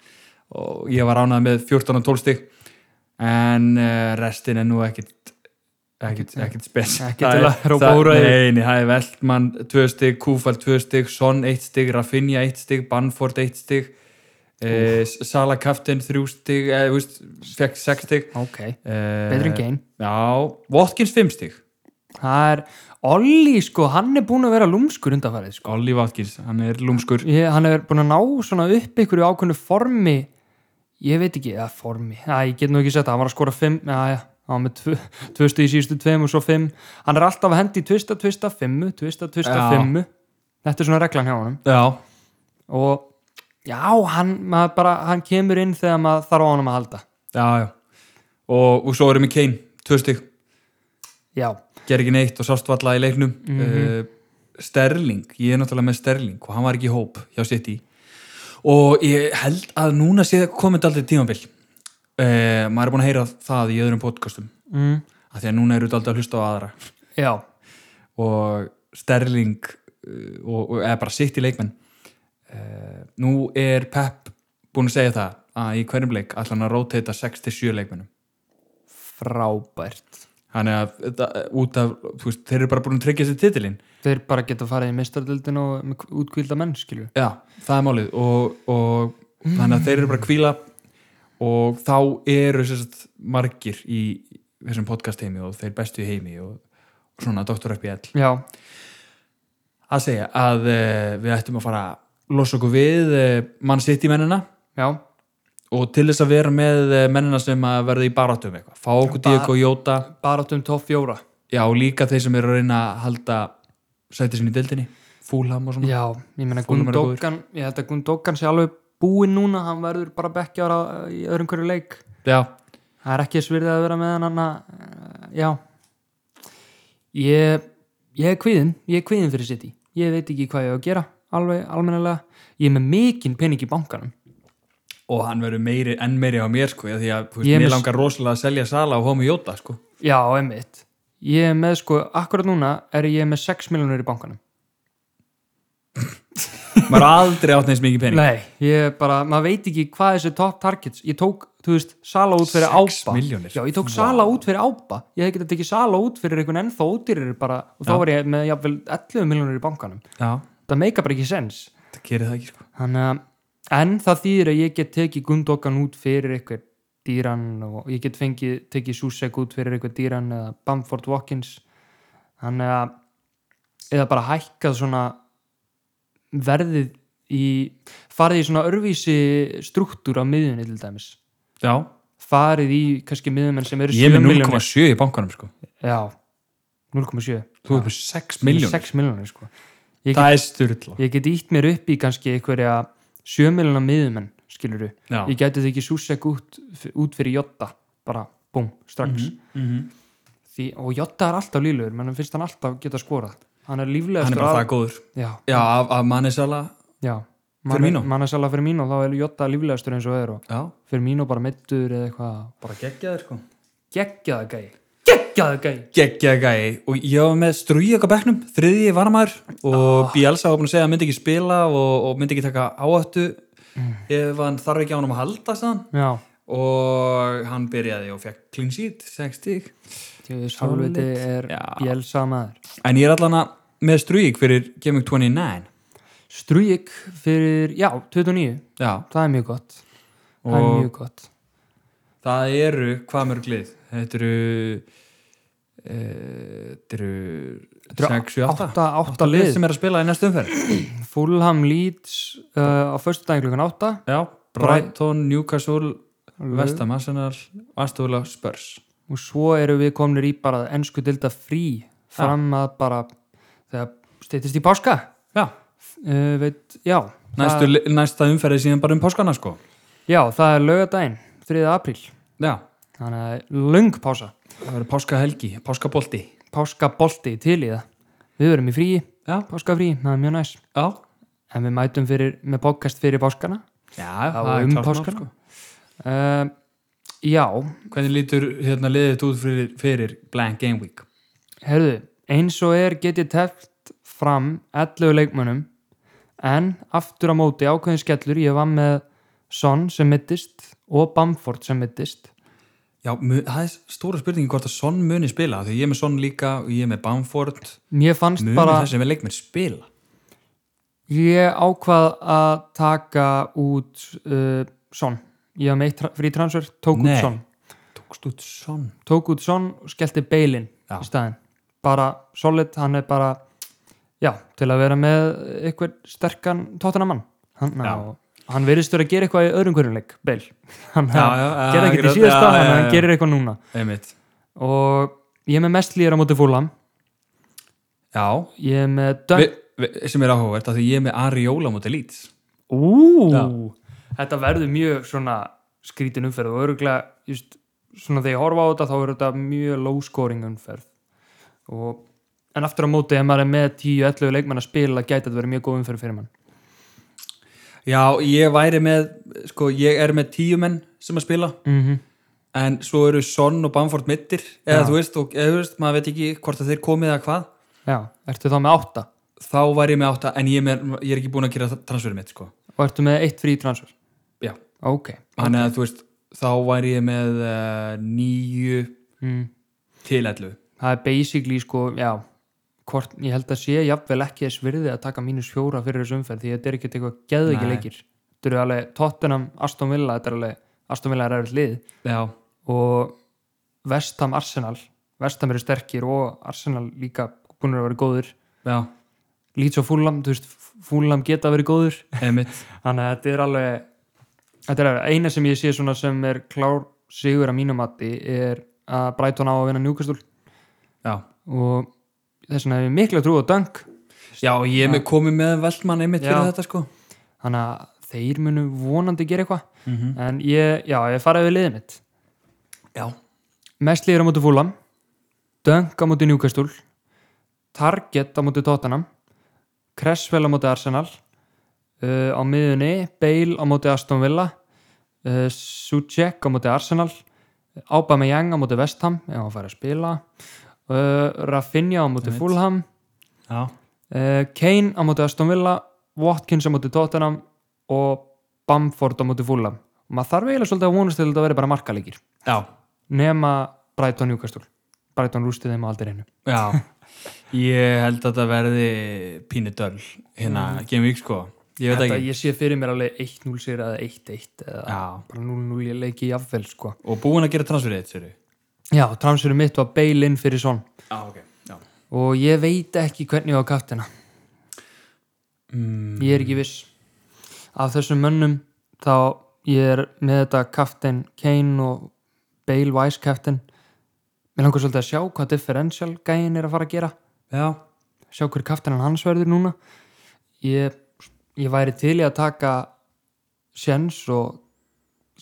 [SPEAKER 1] og ég var ánað með 14 og 12 stig en uh, restin er nú ekkit ekkit, ekkit spes
[SPEAKER 2] Ekki
[SPEAKER 1] Það
[SPEAKER 2] til
[SPEAKER 1] er-
[SPEAKER 2] að hrópa
[SPEAKER 1] það-
[SPEAKER 2] óræði.
[SPEAKER 1] Nei, nei, það er Veltmann 2 stig, Kúfald 2 stig Son 1 stig, Rafinha 1 stig Banford 1 stig uh, Sala Kaftin 3 stig eh, þú veist, fekk 6 stig
[SPEAKER 2] Ok,
[SPEAKER 1] uh,
[SPEAKER 2] betur en gein
[SPEAKER 1] Já, Watkins 5 stig
[SPEAKER 2] Það er, Olli sko, hann er búin að vera lúmskur undanverið sko
[SPEAKER 1] Olli Watkins, hann er lúmskur
[SPEAKER 2] Ég, Hann er búin að ná svona upp ykkur í ákveðnu formi Ég veit ekki, eða formi Æ, ég get nú ekki sett að hann var að skora 5 Æja, hann var með 2 tvö, stig í síðustu 2 og svo 5 Hann er alltaf að hendi tvista, tvista, 5 Tvista, tvista,
[SPEAKER 1] Já.
[SPEAKER 2] 5 Þetta er svona reglan hjá honum
[SPEAKER 1] Já,
[SPEAKER 2] og já, hann, maður bara, hann kemur inn þegar maður þarf á honum að halda
[SPEAKER 1] já, já og, og svo erum við Kane, tvö stygg
[SPEAKER 2] já,
[SPEAKER 1] ger ekki neitt og sást valla í leiknum mm Sterling, ég er náttúrulega með Sterling og hann var ekki í hóp hjá City og ég held að núna sé það komið aldrei tímabil uh, maður er búin að heyra það í öðrum podcastum
[SPEAKER 2] mm,
[SPEAKER 1] af því að núna eru aldrei að hlusta á aðra
[SPEAKER 2] já,
[SPEAKER 1] og Sterling eh, og, og eða bara City leikmenn uh, nú er Pep búin að segja það að í hverjum leik ætla hann að róteita 6-7 leikmennum
[SPEAKER 2] frábært
[SPEAKER 1] Þannig að þetta- út af, þú veist, þeir eru bara búin að tryggja sér titilinn.
[SPEAKER 2] þeir bara geta farið í mistardildin og með útkvílda menn, skilju
[SPEAKER 1] Já, það er málið og, og þannig að þeir eru bara að kvíla og þá eru sérst margir í þessum podcast heimi og þeir bestu í heimi og, og svona Dr. FBL
[SPEAKER 2] já,
[SPEAKER 1] að segja að uh, við ættum að fara að losa okkur við uh, mann sitt í mennina
[SPEAKER 2] já,
[SPEAKER 1] og til þess að vera með eh, mennina sem að verða í barátum eitthvað, fá okkur
[SPEAKER 2] Bara-
[SPEAKER 1] Diego Jóta
[SPEAKER 2] barátum um topp fjóra
[SPEAKER 1] já, og líka þeir sem eru að reyna að halda sæti sinni í deildinni, fúlham og svona
[SPEAKER 2] já, ég meina
[SPEAKER 1] Fulham eru
[SPEAKER 2] Gundókan ég held að Gundókan sé alveg búinn núna hann verður bara bekkjára í öðrum hverju leik
[SPEAKER 1] já.
[SPEAKER 2] það er ekki svirðið að vera með hann anna, já ég, ég er kvíðin ég er kvíðin fyrir City ég veit ekki hvað ég á að gera alveg almennilega ég er með mikinn pening í bankanum
[SPEAKER 1] og hann verður meiri, enn meiri á mér sko, af því að þú veist,
[SPEAKER 2] Ég er
[SPEAKER 1] mér
[SPEAKER 2] með-
[SPEAKER 1] langar rosalega að selja sala á Homi Jóta sko.
[SPEAKER 2] já, einmitt ég er með sko, akkurat núna er ég með 6 miljonur í bankanum
[SPEAKER 1] maður er aldrei átt neins mikið pening
[SPEAKER 2] nei, ég er bara, maður veit ekki hvað þessi top targets ég tók, þú veist, sala út fyrir
[SPEAKER 1] Sex
[SPEAKER 2] ápa
[SPEAKER 1] milljónir?
[SPEAKER 2] já, ég tók
[SPEAKER 1] Vá.
[SPEAKER 2] sala út fyrir ápa ég hef getað tekið sala út fyrir einhvern ennþá ódýrir bara, og þá var ég með jafnvel 11 miljonur í bankanum
[SPEAKER 1] já,
[SPEAKER 2] það meika bara ekki sens
[SPEAKER 1] það gerir það ekki sko.
[SPEAKER 2] Þannig að, en það þýðir að ég get tekið gundokkan út fyrir eitthvað dýran og ég get fengið, tekið Susek út fyrir eitthvað dýran eða Bamford Watkins þannig að eða bara hækkað svona verðið í farið í svona örvísi struktúr á miðjunni til dæmis
[SPEAKER 1] já,
[SPEAKER 2] farið í kannski miðjumenn sem eru
[SPEAKER 1] ég er
[SPEAKER 2] 7
[SPEAKER 1] með
[SPEAKER 2] miljónir
[SPEAKER 1] 0,7 í bankanum sko.
[SPEAKER 2] já, 0,7
[SPEAKER 1] þú er með 6 miljónir
[SPEAKER 2] 6 miljónir sko ég get,
[SPEAKER 1] það er styrla
[SPEAKER 2] ég get ítt mér upp í kannski einhverja 7 miljónar miðjumenn skiluru,
[SPEAKER 1] já.
[SPEAKER 2] ég geti þau ekki súsek út, út fyrir Jotta, bara búm, strax
[SPEAKER 1] Mm
[SPEAKER 2] Því, og Jotta er alltaf líflegur, menn finnst hann alltaf geta skorað hann er líflegast
[SPEAKER 1] hann er bara það góður
[SPEAKER 2] já,
[SPEAKER 1] já, af, af manni sala
[SPEAKER 2] já
[SPEAKER 1] Firmino.
[SPEAKER 2] Mannesala Firmino, þá er Jotta líflegastur eins og er og
[SPEAKER 1] já,
[SPEAKER 2] Firmino bara meittur eða eitthvað
[SPEAKER 1] bara geggjaður sko.
[SPEAKER 2] geggjaða gæi, geggjaða gæi
[SPEAKER 1] geggjaður gæi og ég var með strúið okkar bekknum þriði varmaður og Bielsa var búin að segja að hann myndi ekki spila og, og myndi ekki taka áhættu ef hann þarf ekki á hann að halda sann
[SPEAKER 2] já,
[SPEAKER 1] og hann byrjaði og fekk clean sheet, 6 stík
[SPEAKER 2] tjóðis halvviti er
[SPEAKER 1] Já.
[SPEAKER 2] bjelsa maður
[SPEAKER 1] en ég er allan að með strúið fyrir Gaming 29
[SPEAKER 2] Strujik fyrir, já, 29
[SPEAKER 1] já,
[SPEAKER 2] það er mjög gott, það er
[SPEAKER 1] og
[SPEAKER 2] mjög gott
[SPEAKER 1] það eru hvað mörg lið þetta eru eh, þetta eru 6, 7, 8
[SPEAKER 2] 8, 8 lið
[SPEAKER 1] sem er að spila í næstu umferð
[SPEAKER 2] Fulham Leeds uh, á förstu daginn klukkan 8
[SPEAKER 1] já, Brighton, Newcastle Vestam, Arsenal, Astóla, Spurs
[SPEAKER 2] og svo eru við komnir í bara ennsku dilda frí fram að bara þegar steytist í páska
[SPEAKER 1] já,
[SPEAKER 2] uh, veit, já,
[SPEAKER 1] næstu, li- næsta umferði síðan bara um páskana sko
[SPEAKER 2] já, það er lögadaginn 3. apríl,
[SPEAKER 1] já,
[SPEAKER 2] þannig að það er löng pása
[SPEAKER 1] það verður páskahelgi, páskabolti
[SPEAKER 2] páskabolti til í það við verum í fríi,
[SPEAKER 1] já,
[SPEAKER 2] páskafríi, það er mjög næs
[SPEAKER 1] já,
[SPEAKER 2] en við mætum fyrir, með podcast fyrir páskana
[SPEAKER 1] já
[SPEAKER 2] á
[SPEAKER 1] það er sko.
[SPEAKER 2] um
[SPEAKER 1] klárt mál, sko.
[SPEAKER 2] páskana uh, já,
[SPEAKER 1] Hvernig lítur hérna liðið þetta út fyrir, fyrir Blank Game Week?
[SPEAKER 2] herðu eins og er get ég teft fram 11 leikmönnum en aftur á móti ákveðin skellur ég var með Son sem mittist og Bamford sem mittist
[SPEAKER 1] Já, mu- það er stóra spurningi hvort að Son muni spila því ég er með Son líka og ég er með Bamford
[SPEAKER 2] mér fannst
[SPEAKER 1] muni
[SPEAKER 2] bara
[SPEAKER 1] þessi með leikmenn spila
[SPEAKER 2] ég ákvað að taka út uh, Son ég var með eitt tra- frí transfer, tók
[SPEAKER 1] Nei.
[SPEAKER 2] út Son
[SPEAKER 1] Tókst út Son?
[SPEAKER 2] tók út Son og skellti Beilin
[SPEAKER 1] Já.
[SPEAKER 2] í staðin bara solid, hann er bara já, til að vera með eitthvað sterkan tóttanamann hann,
[SPEAKER 1] Já.
[SPEAKER 2] ná, hann verðist vera að gera eitthvað í öðrum hverjum leik Beil, hann
[SPEAKER 1] Já, já, já,
[SPEAKER 2] gerði ekkert í
[SPEAKER 1] akkurat,
[SPEAKER 2] síðasta
[SPEAKER 1] já, já,
[SPEAKER 2] en hann
[SPEAKER 1] já.
[SPEAKER 2] gerir eitthvað núna
[SPEAKER 1] Einmitt.
[SPEAKER 2] og ég er með mest lýra á móti fúlam
[SPEAKER 1] Já,
[SPEAKER 2] ég er með
[SPEAKER 1] vi,
[SPEAKER 2] dönn
[SPEAKER 1] vi, sem er áhugavert af því ég er með Ariola mútið lít
[SPEAKER 2] Ú, þetta verður mjög svona skrítin umferð og öruglega just, svona þegar ég horfa á þetta þá er þetta mjög low scoring umferð og, en aftur á móti ef maður er með 10-11 leikmenn að spila gæti þetta verið mjög góð umferð fyrir mann
[SPEAKER 1] Já, ég væri með sko, ég er með tíu menn sem að spila
[SPEAKER 2] mm -hmm.
[SPEAKER 1] en svo eru Son og Bamford mittir eða
[SPEAKER 2] Já.
[SPEAKER 1] þú veist, og, eða, þú veist, maður veit ekki hvort að þeir komið eða hvað
[SPEAKER 2] Já, ertu þá með 8
[SPEAKER 1] þá væri ég með átta en ég er, með, ég er ekki búin að gera transferið mitt sko.
[SPEAKER 2] og ertu með 1 frí transfer
[SPEAKER 1] Já,
[SPEAKER 2] Ok,
[SPEAKER 1] þannig að þú veist þá væri ég með uh, nýju
[SPEAKER 2] mm.
[SPEAKER 1] til 11
[SPEAKER 2] það er basically sko, já Hvort, ég held að sé jafnvel ekki þess virði að taka mínus fjóra fyrir þessu umferð því þetta er ekkert eitthvað geðveiki
[SPEAKER 1] Nei.
[SPEAKER 2] leikir þetta eru alveg Tottenham, Aston Villa þetta er alveg, Aston Villa er erfitt lið
[SPEAKER 1] Já,
[SPEAKER 2] og Vestham Arsenal Vestham eru sterkir og Arsenal líka búin að vera góður
[SPEAKER 1] já,
[SPEAKER 2] Leeds og Fulham, þú veist, Fulham geta verið góður
[SPEAKER 1] emitt
[SPEAKER 2] þannig að þetta er alveg þetta er alveg eina sem ég sé svona sem er klár sigur að mínum mati er að Brighton á að vinna Newcastle
[SPEAKER 1] Já,
[SPEAKER 2] og þess vegna hefur mikla trú á Dunk
[SPEAKER 1] já og ég er með komið með Veltmann emitt
[SPEAKER 2] Já.
[SPEAKER 1] fyrir þetta sko
[SPEAKER 2] þannig að þeir munu vonandi gera eitthvað
[SPEAKER 1] Mhm.
[SPEAKER 2] en ég, já, ég faraði við liðið mitt
[SPEAKER 1] Já,
[SPEAKER 2] Mesli er á móti Fulham Dunk á móti Newcastle Target á móti Tottenham Cresswell á móti Arsenal uh, á miðunni Bale á móti Aston Villa uh, Suchek á móti Arsenal Aubameyang á móti Vestham ef hann fær að spila uh, Rafinha á móti
[SPEAKER 1] Einmitt.
[SPEAKER 2] Fulham
[SPEAKER 1] já,
[SPEAKER 2] uh, Kane á móti Aston Villa Watkins á móti Tottenham og Bamford á móti Fulham og maður þarf eiginlega svolítið að vonast til að þetta verði bara markalegir
[SPEAKER 1] já,
[SPEAKER 2] nema Brighton Newcastle Brighton rústið þeim á aldrei einu
[SPEAKER 1] já. Ég held að þetta verði pínu döl hérna, Game Week sko Ég veit
[SPEAKER 2] Þetta,
[SPEAKER 1] ekki
[SPEAKER 2] ég sé fyrir mér alveg 1-0 sigur eða 1-1 eða
[SPEAKER 1] Já.
[SPEAKER 2] bara 0-0 ég leiki jafnvel sko
[SPEAKER 1] Og búin að gera transferið þitt, sérðu
[SPEAKER 2] já, transferum mitt var Bale inn fyrir son
[SPEAKER 1] Já, ok, já
[SPEAKER 2] og ég veit ekki hvernig ég á kaftina
[SPEAKER 1] mm,
[SPEAKER 2] ég er ekki viss af þessum mönnum þá ég er með þetta Captain Kane og Bale Vice Captain mér langar svolítið að sjá hvað differential gæin er að fara að gera
[SPEAKER 1] já,
[SPEAKER 2] sjá hver kaftanan hans verður núna ég, ég væri til í að taka sjens og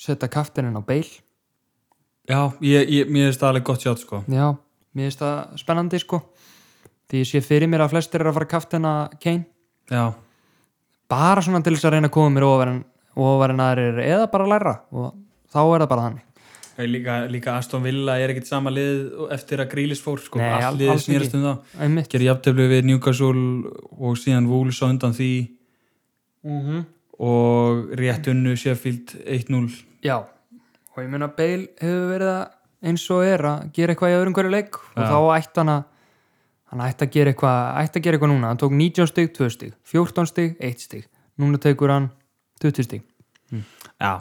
[SPEAKER 2] setja kaftanan á beil
[SPEAKER 1] já, ég, ég, mér er staðalega gott sjátt sko
[SPEAKER 2] já, mér finnst það spennandi sko því ég sé fyrir mér að flestir er að fara kaftana Kane
[SPEAKER 1] já,
[SPEAKER 2] bara svona til þess að reyna að koma mér ofar en, ofar en aðrir eða bara læra og þá er það bara þannig
[SPEAKER 1] Ég líka, líka Aston Villa er ekkit sama lið eftir að Grílis fór sko,
[SPEAKER 2] Nei, al-
[SPEAKER 1] allt liðið
[SPEAKER 2] alls
[SPEAKER 1] snýrast
[SPEAKER 2] ekki.
[SPEAKER 1] um það
[SPEAKER 2] einmitt
[SPEAKER 1] gerir jafnteflu við Newcastle og síðan Wolves á undan því
[SPEAKER 2] mm
[SPEAKER 1] Mhm. og rétt unnu Sheffield 1-0
[SPEAKER 2] já, og ég meina Bale hefur verið að eins og er að gera eitthvað í öðrum hverju leik og
[SPEAKER 1] Já.
[SPEAKER 2] þá ætti hann að hann ætti að gera eitthvað, ætti að gera eitthvað núna hann tók 19 stig, 2 stig, 14 stig 1 stig, núna tekur hann 20 stig,
[SPEAKER 1] já,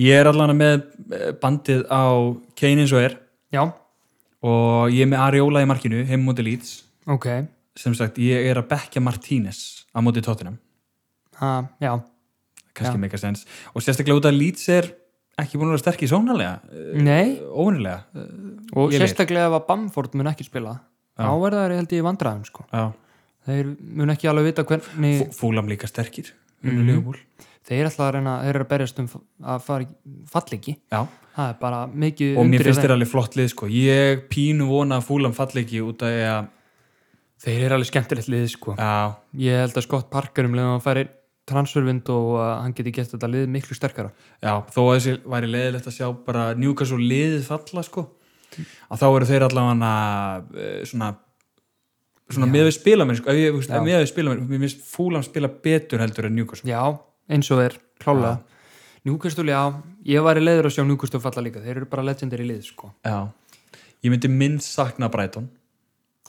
[SPEAKER 1] ég er allan með eh, bandið á Kane eins og er
[SPEAKER 2] já,
[SPEAKER 1] og ég er með Ariola í markinu heim móti Leeds
[SPEAKER 2] ok
[SPEAKER 1] sem sagt, ég er að bekja Martínez á móti Tottenham,
[SPEAKER 2] ha, já,
[SPEAKER 1] kannski
[SPEAKER 2] Já.
[SPEAKER 1] meika sens og sérstaklega út að Leeds er ekki búin að vera sterk í eh, sónalega,
[SPEAKER 2] nei
[SPEAKER 1] óunilega
[SPEAKER 2] og
[SPEAKER 1] Lélegir.
[SPEAKER 2] sérstaklega ef að Bamford mun ekki spila
[SPEAKER 1] Já.
[SPEAKER 2] þá er það held ég í vandræðum sko
[SPEAKER 1] já,
[SPEAKER 2] þeir mun ekki alveg vita hvernig
[SPEAKER 1] Fú- fúlam líka sterkir mm -hmm.
[SPEAKER 2] þeir ætla að reyna, þeir eru að berjast um að fara í fall ekki
[SPEAKER 1] já,
[SPEAKER 2] það er bara mikið
[SPEAKER 1] og mér
[SPEAKER 2] undir í
[SPEAKER 1] finnst
[SPEAKER 2] þeim.
[SPEAKER 1] þeir alveg flott lið sko. ég pínu vona að fúlam falli ekki út af því að
[SPEAKER 2] þeir eru alveg skemmtilegt lið sko
[SPEAKER 1] já,
[SPEAKER 2] ég held að Scott Parker um leiðan að færi transfervind og uh, hann geti gett þetta lið miklu sterkara
[SPEAKER 1] já, þó að þessi væri leiðilegt að sjá bara Newcastle liðið falla sko. að þá eru þeir allavega eh, svona svona með við spilamenn sko. ef ég, þú veist, ef með við spilamenn, mér finnst fúlam spila betur heldur en Newcastle
[SPEAKER 2] já, eins og er, klálega Newcastle, já, ég var í leiður að sjá Newcastle falla líka, þeir eru bara legendir í lið sko
[SPEAKER 1] já. ég myndi minnst sakna Brighton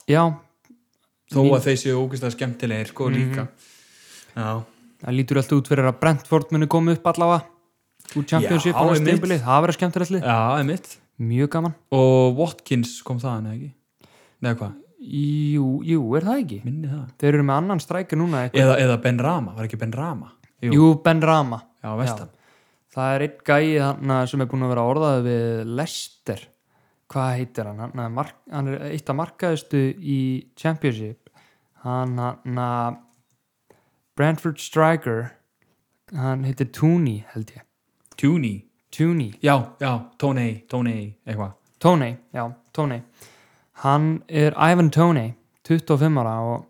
[SPEAKER 2] já,
[SPEAKER 1] þó að þeir séu ógeðslega skemmtilegir sko líka já,
[SPEAKER 2] það lítur allt út fyrir að Brentford muni koma upp allavega úr Championship
[SPEAKER 1] Já,
[SPEAKER 2] á næsta
[SPEAKER 1] einmitt.
[SPEAKER 2] tímabilið. það verður skemmtilegt lið,
[SPEAKER 1] já, emitt
[SPEAKER 2] mjög gaman
[SPEAKER 1] og Watkins kom þaðan eða ekki neða hvað,
[SPEAKER 2] jú, jú, er það ekki?
[SPEAKER 1] minni það
[SPEAKER 2] þeir eru með annan strækir núna eitthvað.
[SPEAKER 1] eða, eða Ben Rama, var ekki Ben Rama Jú,
[SPEAKER 2] jú, Ben Rama
[SPEAKER 1] já, vestan
[SPEAKER 2] það er einn gæi hann sem er búin að vera orðaði við Lester hvað heitir hann? Hann er, mark, hann er eitt af markaðustu í Championship hann, hann að Brentford Striker hann heitir Tooney held ég
[SPEAKER 1] Tuni,
[SPEAKER 2] Tooney,
[SPEAKER 1] já, já, Tónei Tónei, eitthvað
[SPEAKER 2] Tóney, já, Tóney hann er Ivan Tóney 25 ára og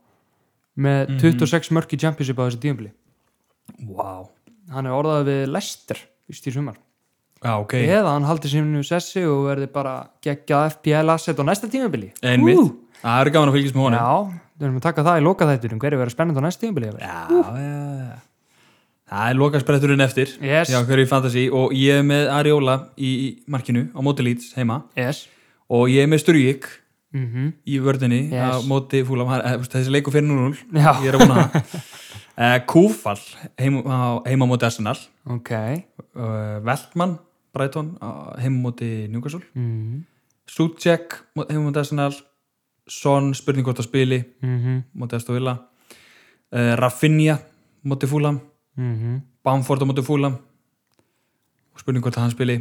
[SPEAKER 2] með 26 mörk í Championship á þessu tíumbli
[SPEAKER 1] wow.
[SPEAKER 2] hann er orðaði við Lester í stíðsumar
[SPEAKER 1] Já, ok,
[SPEAKER 2] eða hann haldi sínu sessi og verði bara geggjað FPL asset á næsta tímabili
[SPEAKER 1] einmitt Það er gaman að fylgjast með honum
[SPEAKER 2] Já, við erum að taka það í loka þættur um hverju verður spennandi á næsta tímabili jafnvel.
[SPEAKER 1] já, já. Það er lokaspretturinn eftir
[SPEAKER 2] Yes.
[SPEAKER 1] Já, hverju fantasi og ég er með Ariola í í markinu á móti Leeds heima
[SPEAKER 2] Yes
[SPEAKER 1] og ég er með Sturgik
[SPEAKER 2] mm
[SPEAKER 1] í vördinni á
[SPEAKER 2] Yes.
[SPEAKER 1] móti Fúlam Hann- eh, þú veist, þessi leiku fyrir 0-0
[SPEAKER 2] Já.
[SPEAKER 1] ég er að vona það Eh, Kúfall heima, á- heima á móti Arsenal
[SPEAKER 2] Ok
[SPEAKER 1] uh, Veltmann, Brighton uh, heim á móti Newcastle
[SPEAKER 2] mm
[SPEAKER 1] Suchek heim á móti Arsenal Son, spurning hvort að spili
[SPEAKER 2] -hmm.
[SPEAKER 1] móti Aston Villa uh, Rafinha móti Fúlam
[SPEAKER 2] Mm
[SPEAKER 1] Bamford á móti Fúlam spurning hvort að hann spili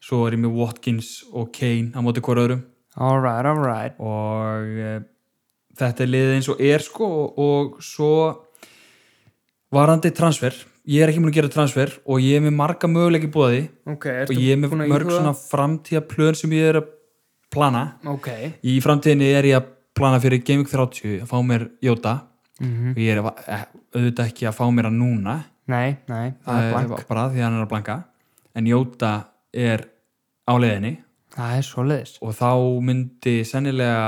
[SPEAKER 1] svo er ég með Watkins og Kane á móti hver öðrum
[SPEAKER 2] Alright, alright
[SPEAKER 1] og uh, þetta er liðið eins og er sko og, og svo varandi transfer ég er ekki múin að gera transfer og ég er með marga möguleiki búið
[SPEAKER 2] Ok,
[SPEAKER 1] og ég er með mörg svona framtíða plön sem ég er að plana
[SPEAKER 2] Ok
[SPEAKER 1] í framtíðinni er ég að plana fyrir Gaming 30 að fá mér Jóta
[SPEAKER 2] Mhm.
[SPEAKER 1] og ég er eh, auðvitað ekki að fá mér hann núna
[SPEAKER 2] Nei, nei, það
[SPEAKER 1] Eh,
[SPEAKER 2] er blank
[SPEAKER 1] bara því að hann er að blanka en Jóta er á leiðinni
[SPEAKER 2] Það er svoleiðis
[SPEAKER 1] og þá myndi sennilega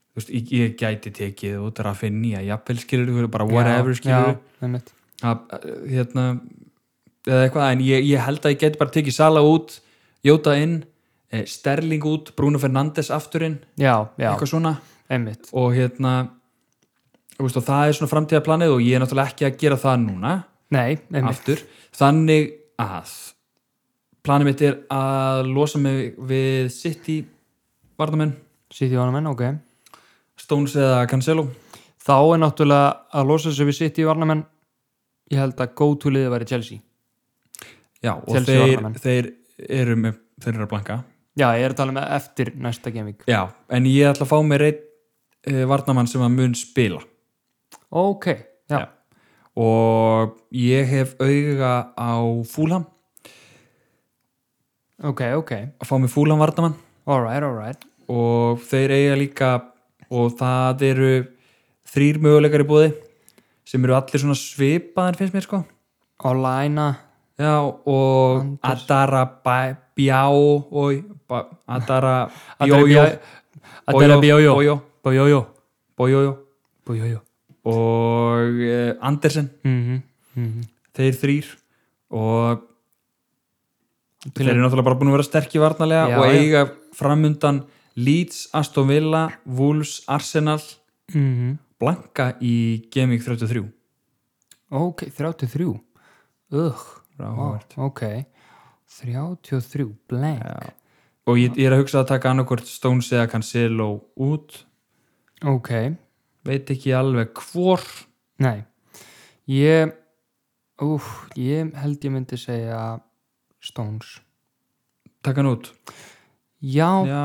[SPEAKER 1] þú veist, ég, ég gæti tekið út að finna nýja jafnvel skilur bara whatever skilur
[SPEAKER 2] Já, einmitt
[SPEAKER 1] að, hérna, eða eitthvað en ég, ég held að ég geti bara tekið Sala út Jóta inn, eh, Sterling út Bruno Fernandes afturinn
[SPEAKER 2] Já, já,
[SPEAKER 1] eitthvað svona
[SPEAKER 2] einmitt
[SPEAKER 1] og hérna þú veist, og það er svona framtíðaplanið og ég er náttúrulega ekki að gera það núna
[SPEAKER 2] Nei, einmitt
[SPEAKER 1] aftur, þannig að planið mitt er að losa mig við City varnamenn,
[SPEAKER 2] Sýtti á hann menn, ok
[SPEAKER 1] Stones eða Cancelo
[SPEAKER 2] þá er náttúrulega að losa sig við sitt í varnamenn ég held að go to liði væri Chelsea
[SPEAKER 1] Já, og
[SPEAKER 2] Chelsea
[SPEAKER 1] þeir,
[SPEAKER 2] varnarmenn.
[SPEAKER 1] þeir eru með, þeir eru að blanka
[SPEAKER 2] já, ég er að tala með eftir næsta genvík
[SPEAKER 1] Já, en ég ætla að fá mér einn eh, varnamann sem að mun spila
[SPEAKER 2] ok, já,
[SPEAKER 1] Já. og ég hef auga á fúlam,
[SPEAKER 2] ok, ok
[SPEAKER 1] að fá mér fúlam varnamann
[SPEAKER 2] alright, alright
[SPEAKER 1] og þeir eiga líka og það eru þrýr möguleikar í búði sem eru allir svona svipaðar finnst mér sko
[SPEAKER 2] Olaina,
[SPEAKER 1] Já, og
[SPEAKER 2] Anders.
[SPEAKER 1] Adara Bjá og ba- Adara Bjójó
[SPEAKER 2] Adela Bjójó Bjójó
[SPEAKER 1] Bjójó
[SPEAKER 2] Bjójó
[SPEAKER 1] og eh, Andersen
[SPEAKER 2] Mhm,
[SPEAKER 1] þeir þrýr og þeir eru náttúrulega bara búin að vera sterkir varnalega
[SPEAKER 2] Já,
[SPEAKER 1] og
[SPEAKER 2] já.
[SPEAKER 1] eiga framundan Leeds, Aston Villa, Wolves, Arsenal
[SPEAKER 2] mhm.
[SPEAKER 1] blanka í Gaming 33
[SPEAKER 2] ok, 33 Ugh,
[SPEAKER 1] Ráhvert.
[SPEAKER 2] ok 33, blank
[SPEAKER 1] og ég, ég er að hugsa að taka annarkvort Stones eða Cancelo út
[SPEAKER 2] ok,
[SPEAKER 1] veit ekki alveg hvor
[SPEAKER 2] nei ég úf, ég held ég myndi segja Stones
[SPEAKER 1] taka hann út
[SPEAKER 2] já,
[SPEAKER 1] já,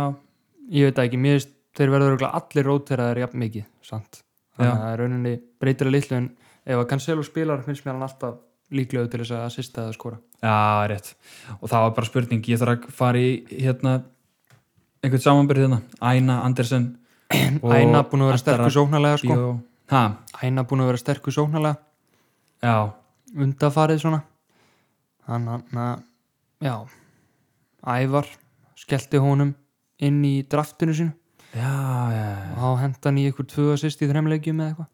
[SPEAKER 2] ég veit það ekki, mér finnst þeir verður örugglega allir róteraðir jafn mikið, sant þannig
[SPEAKER 1] Já.
[SPEAKER 2] að það er rauninni breytir að litlu en ef að Cancelo spilar finnst mér hann alltaf líklegur til þess að assista eða skora
[SPEAKER 1] já, rétt og það var bara spurning, ég þarf að fara í hérna einhvern samanbyrð hérna, Æna, Andersen og
[SPEAKER 2] Æna búin að
[SPEAKER 1] Adara
[SPEAKER 2] vera sterkur sóknarlega sko.
[SPEAKER 1] Bíó. ha,
[SPEAKER 2] Æna búin að vera sterkur sóknarlega
[SPEAKER 1] já,
[SPEAKER 2] undafarið svona hann hann að já, Ævar skellti honum inn í draftinu sínu
[SPEAKER 1] já, já, já.
[SPEAKER 2] og þá hent hann í ykkur tvö assist í þremleikjum eða eitthvað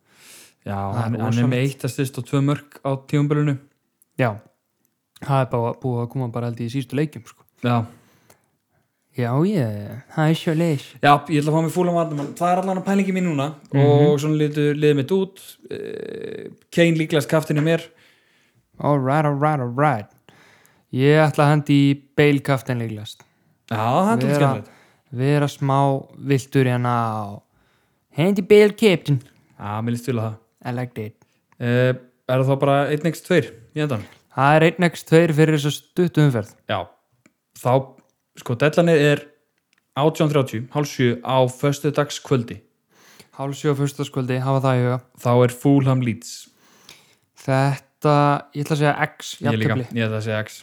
[SPEAKER 1] já
[SPEAKER 2] Það er
[SPEAKER 1] hann, hann er
[SPEAKER 2] rosalegt.
[SPEAKER 1] með eitt að styrst og tvö mörg á tíumbölinu
[SPEAKER 2] já, það er bara búið að koma bara held ég í sístu leikjum sko.
[SPEAKER 1] já,
[SPEAKER 2] já ég, það er svo leis
[SPEAKER 1] Já, ég ætla að fá mig fúlan varnamann Það er allan að pælingi mín núna
[SPEAKER 2] Mhm.
[SPEAKER 1] og svona litur liðið mitt út Eh, Kane líklegast kaftinni mér
[SPEAKER 2] alright, alright, alright ég ætla að hendi í Bale kaftin líklegast
[SPEAKER 1] Já, það er
[SPEAKER 2] Vera-
[SPEAKER 1] tótt skemmtilegt
[SPEAKER 2] vera smá viltur hérna á hendi Bale captain
[SPEAKER 1] Já, mér líst til að það
[SPEAKER 2] I like that
[SPEAKER 1] uh, Er það þá bara 1x2 í endan?
[SPEAKER 2] það er 1x2 fyrir þess að stuttu umferð
[SPEAKER 1] Já, þá sko, dellanir er 18.30, hálf 7 á föstudags kvöldi
[SPEAKER 2] hálsjó og fyrstaskvöldi, hafa það í huga
[SPEAKER 1] þá er Fulham Leeds
[SPEAKER 2] þetta, ég ætla að segja x
[SPEAKER 1] Ég líka,
[SPEAKER 2] jafntefli.
[SPEAKER 1] ég ætla að segja X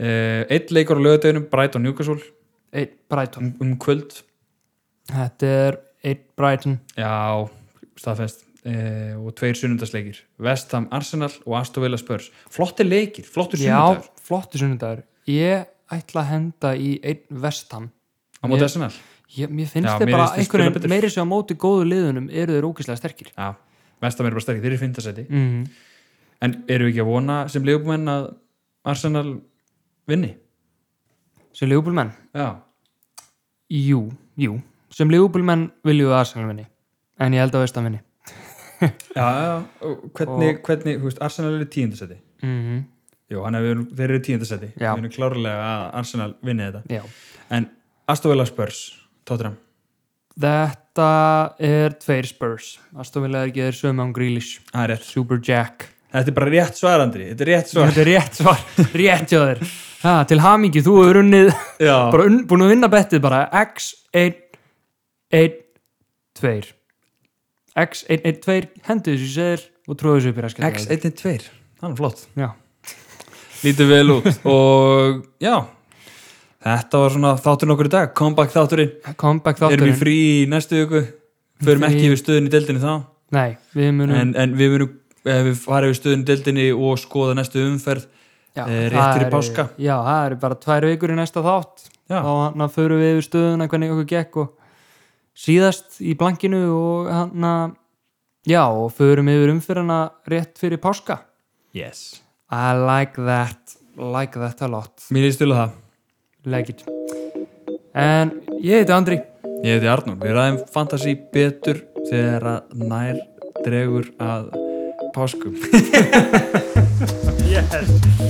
[SPEAKER 1] uh, Eitt leikur á lögadeginu Brighton Newcastle
[SPEAKER 2] einn Brighton
[SPEAKER 1] um, um kvöld
[SPEAKER 2] þetta er einn Brighton
[SPEAKER 1] Já, staðfest eh, og tveir sunnundasleikir Vestham Arsenal og Aston Villa Spurs flottir leikir, flottur
[SPEAKER 2] já,
[SPEAKER 1] sunnundar
[SPEAKER 2] flottu sunnudagur ég ætla að henda í einn vestam
[SPEAKER 1] á móti
[SPEAKER 2] Ég-
[SPEAKER 1] Arsenal
[SPEAKER 2] ég, mér finnst
[SPEAKER 1] Já,
[SPEAKER 2] þeir
[SPEAKER 1] mér
[SPEAKER 2] bara
[SPEAKER 1] finnst þeir
[SPEAKER 2] einhvern
[SPEAKER 1] spila
[SPEAKER 2] veginn
[SPEAKER 1] betur.
[SPEAKER 2] meiri sem á móti góðu liðunum eru þeir ógeðslega sterkir
[SPEAKER 1] Já, Vestham eru bara sterkir, þeir eru í fintasæti
[SPEAKER 2] mm.
[SPEAKER 1] en eru við ekki að vona sem leikumenn að Arsenal vinni?
[SPEAKER 2] sem leifubólmenn
[SPEAKER 1] Já,
[SPEAKER 2] jú, jú, sem leifubólmenn viljum við Arsenal vinni en ég held að vestam vinni
[SPEAKER 1] já, já og hvernig, hvernig, þú veist, Arsenal eru í tíundasæti Mhm.
[SPEAKER 2] mm.
[SPEAKER 1] Jú, hann er, þeir eru í tíundasæti
[SPEAKER 2] Já.
[SPEAKER 1] við erum klárlega að Arsenal vinni þetta
[SPEAKER 2] já
[SPEAKER 1] en Aston Villa Spurs, Tottenham
[SPEAKER 2] Þetta er tveir Spurs Astofilega er ekki þeir sömu án Grealish
[SPEAKER 1] Það er rétt,
[SPEAKER 2] Super Jack
[SPEAKER 1] þetta er bara rétt svar Andri þetta er rétt svar
[SPEAKER 2] Þetta er rétt svar, rétt hjá þér ha, Til hamingi, þú hefur unnið
[SPEAKER 1] Já,
[SPEAKER 2] bara un, búin að vinna bettið bara x 1 1 2 x 1 1 2 hendu þessu sér og tróðu þessu upp í raskætt
[SPEAKER 1] X112, það er flott
[SPEAKER 2] Já,
[SPEAKER 1] lítið vel út og já þetta var svona þátturinn okkur í dag comeback þátturinn,
[SPEAKER 2] comeback
[SPEAKER 1] erum við
[SPEAKER 2] þátturinn
[SPEAKER 1] frí í næstu viku förum
[SPEAKER 2] Frí.
[SPEAKER 1] ekki yfir stöðunni í deildinni þá
[SPEAKER 2] Nei, við munum
[SPEAKER 1] en, en við verum ef við farið yfir stöðunni í deildinni og skoða næstu umferð
[SPEAKER 2] já,
[SPEAKER 1] eh, rétt
[SPEAKER 2] það
[SPEAKER 1] fyrir
[SPEAKER 2] eru-
[SPEAKER 1] páska.
[SPEAKER 2] Já, það eru bara tvær vikur í næsta þátt
[SPEAKER 1] Já.
[SPEAKER 2] Þá hann að förum við yfir stöðuna hvernig okkur gekk og síðast í blankinu og hann að Já, og förum yfir umfyrirna rétt fyrir páska
[SPEAKER 1] yes.
[SPEAKER 2] I like that, like that a lot
[SPEAKER 1] mér er stöðlega það,
[SPEAKER 2] Like it En ég heiti Andri
[SPEAKER 1] ég heiti Arnur við ræðum fantasy betur þegar að nær dregur að páskum
[SPEAKER 2] Yes